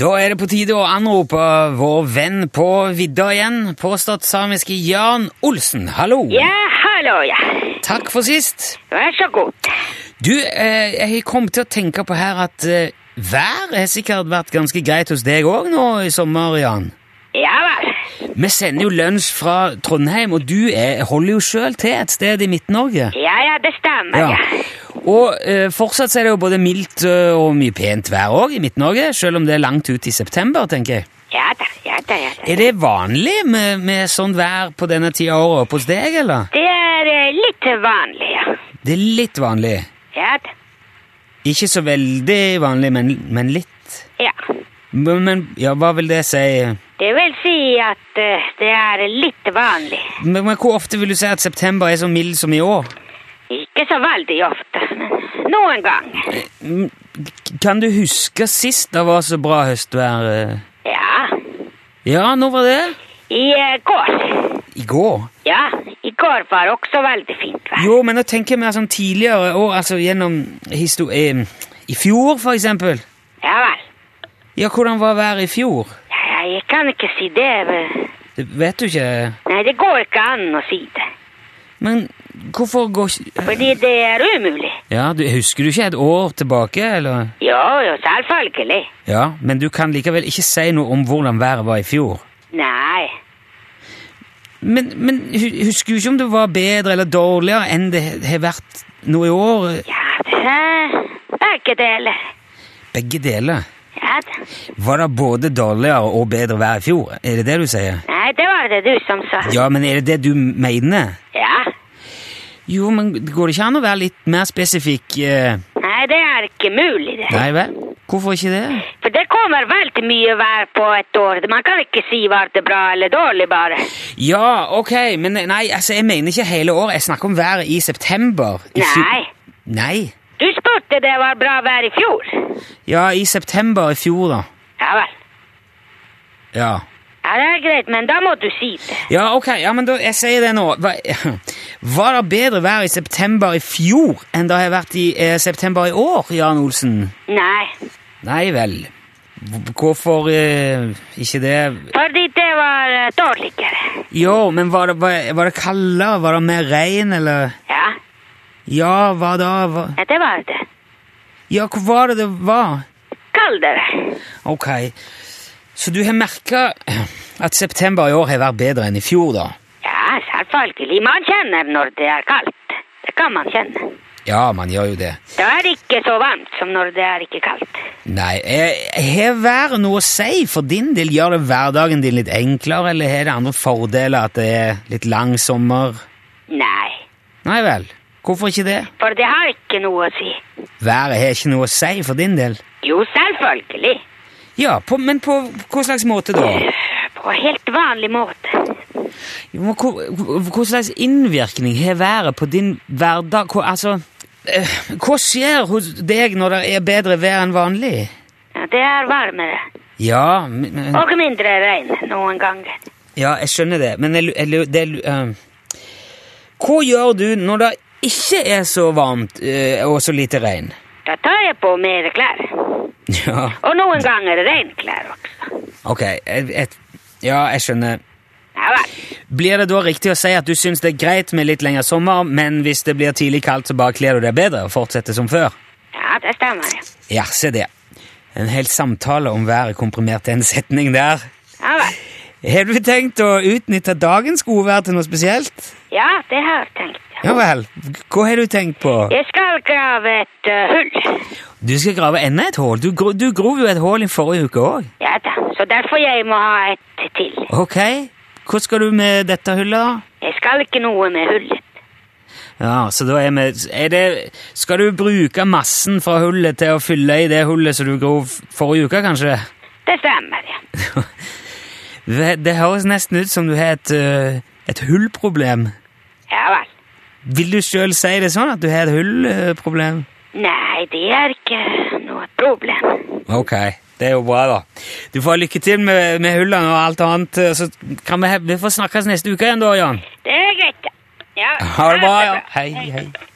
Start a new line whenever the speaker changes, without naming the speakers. Da er det på tide å anrope vår venn på vidda igjen, påstått samiske Jan Olsen. Hallo!
Ja, hallo, ja.
Takk for sist.
Vær så god.
Du, eh, jeg kom til å tenke på her at eh, været har sikkert vært ganske greit hos deg òg nå i sommer, Jan.
Ja vel.
Vi sender jo lunsj fra Trondheim, og du er, holder jo sjøl til et sted i Midt-Norge.
Ja, ja, det stemmer, ja.
Ja. Og eh, fortsatt så er det jo både mildt eh, og mye pent vær òg i Midt-Norge, sjøl om det er langt ut i september, tenker jeg.
Ja da, ja da, ja da.
Er det vanlig med, med sånn vær på denne tida av året oppe hos deg, eller?
Det er eh, litt vanlig, ja.
Det er litt vanlig.
Ja da,
Ikke så veldig vanlig, men, men litt.
ja.
Men, men ja, hva vil det si?
Det vil si at eh, det er litt vanlig.
Men, men hvor ofte vil du si at september er så mild som i år?
Ikke så veldig ofte, men noen gang.
Mm, k- Kan du huske sist det var så bra høstvær? eh?
Ja,
Ja, når var det?
i eh, går.
I går.
Ja, i går var også veldig fint vær.
Jo, men nå tenker jeg mer sånn tidligere år, altså gjennom histo- eh, I fjor, for eksempel.
Ja vel.
Ja, hvordan var været i fjor?
Ja, ja, jeg kan ikke si det. men-
Det vet du ikke.
Nei, det går ikke an å si det.
Men hvorfor går ikke
Fordi det er umulig.
Ja, du, Husker du ikke et år tilbake, eller?
Jo, jo, selvfølgelig.
Ja, men du kan likevel ikke si noe om hvordan været var i fjor.
Nei.
Men, men hu- husker du ikke om det var bedre eller dårligere enn det he- har vært nå i år?
Ja, det- begge deler.
Begge deler.
Ja, da.
Var det både dårligere og bedre vær i fjor? Er det det du sier?
nei, det var det du som sa.
Ja, men er det det du mener?
Ja.
Jo, men går det ikke an å være litt mer spesifikk? eh?
Nei, det er ikke mulig, det.
Nei vel? Hvorfor ikke det?
For det kommer veldig mye vær på et år. Man kan ikke si var det bra eller dårlig, bare.
Ja, ok, men nei, altså, jeg mener ikke hele året. Jeg snakker om været i september. I fj-
Nei.
Nei?
Du spurte det var bra vær i fjor.
Ja, i september i fjor, da.
Ja vel.
Ja.
Ja, det er greit, men da må du si det.
Ja, ok, ja, men da, jeg sier det nå. Hva, var det bedre vær i september i fjor enn det har vært i eh, september i år, Jan Olsen?
Nei.
Nei vel. H- Hvorfor eh, ikke det?
Fordi det var eh, dårligere.
Jo, men var det, var, var det kaldere? Var det mer regn, eller?
Ja.
Ja, hva da? Hva?
ja, det var det.
Ja, hvor var det det var?
Kaldere.
Ok. Så du har merka at september i år har vært bedre enn i fjor, da?
Ja, selvfølgelig. Man kjenner når det er kaldt. Det kan man kjenne.
Ja, man gjør jo det.
Det er ikke så varmt som når det er ikke kaldt.
Nei, eh, har været noe å si for din del? Gjør det hverdagen din litt enklere, eller har det andre fordeler at det er litt lang sommer?
Nei,
Nei vel, hvorfor ikke det?
for det har ikke noe å si.
Været har ikke noe å si for din del.
Jo, selvfølgelig.
Ja, på, men på hva slags måte da?
På helt vanlig måte.
Jo, men Hva, hva slags innvirkning har været på din hverdag? Hva, altså, eh, hva skjer hos deg når det er bedre vær enn vanlig?
Ja, det er varmere.
Ja, men, men-
Og mindre regn noen ganger.
ja, jeg skjønner det, men jeg, lu- jeg, lu- det, lu- eh, Hva gjør du når det ikke er så varmt eh, og så lite regn?
Da tar jeg på mer klær.
Ja,
Og noen ganger regnklær også.
ok, jeg, jeg, ja, jeg skjønner.
Ja vel.
Blir det da riktig å si at du syns det er greit med litt lengre sommer, men hvis det blir tidlig kaldt, så bare kler du deg bedre og fortsetter som før?
Ja, det stemmer. ja.
Ja, se det. En hel samtale om været komprimert til en setning der.
Ja vel.
Har du tenkt å utnytte dagens godvær til noe spesielt?
Ja, det har jeg tenkt. ja.
Ja vel. Hva har du tenkt på?
Jeg skal grave et eh, hull.
Du skal grave enda et hull. Du, gro du grov jo et hull i forrige uke òg.
Ja da, så derfor jeg må ha et til.
Ok. Hva skal du med dette hullet, da?
Jeg skal ikke noe med hullet.
Ja, så da er vi er det, Skal du bruke massen fra hullet til å fylle i det hullet som du grov forrige uke, kanskje?
Det stemmer, ja.
Det det høres nesten ut som du har et, øh, et hullproblem.
Ja vel.
Vil du sjøl si det sånn at du har et hullproblem?
Nei, det er ikke noe problem.
Ok, det er jo bra, da. Du får ha lykke til med, med hullene og alt annet. øh, Så kan vi, he- vi får snakkes neste uke igjen, da, Jan.
Det er greit, ja. ja.
Ha det bra, ja. Hei, hei.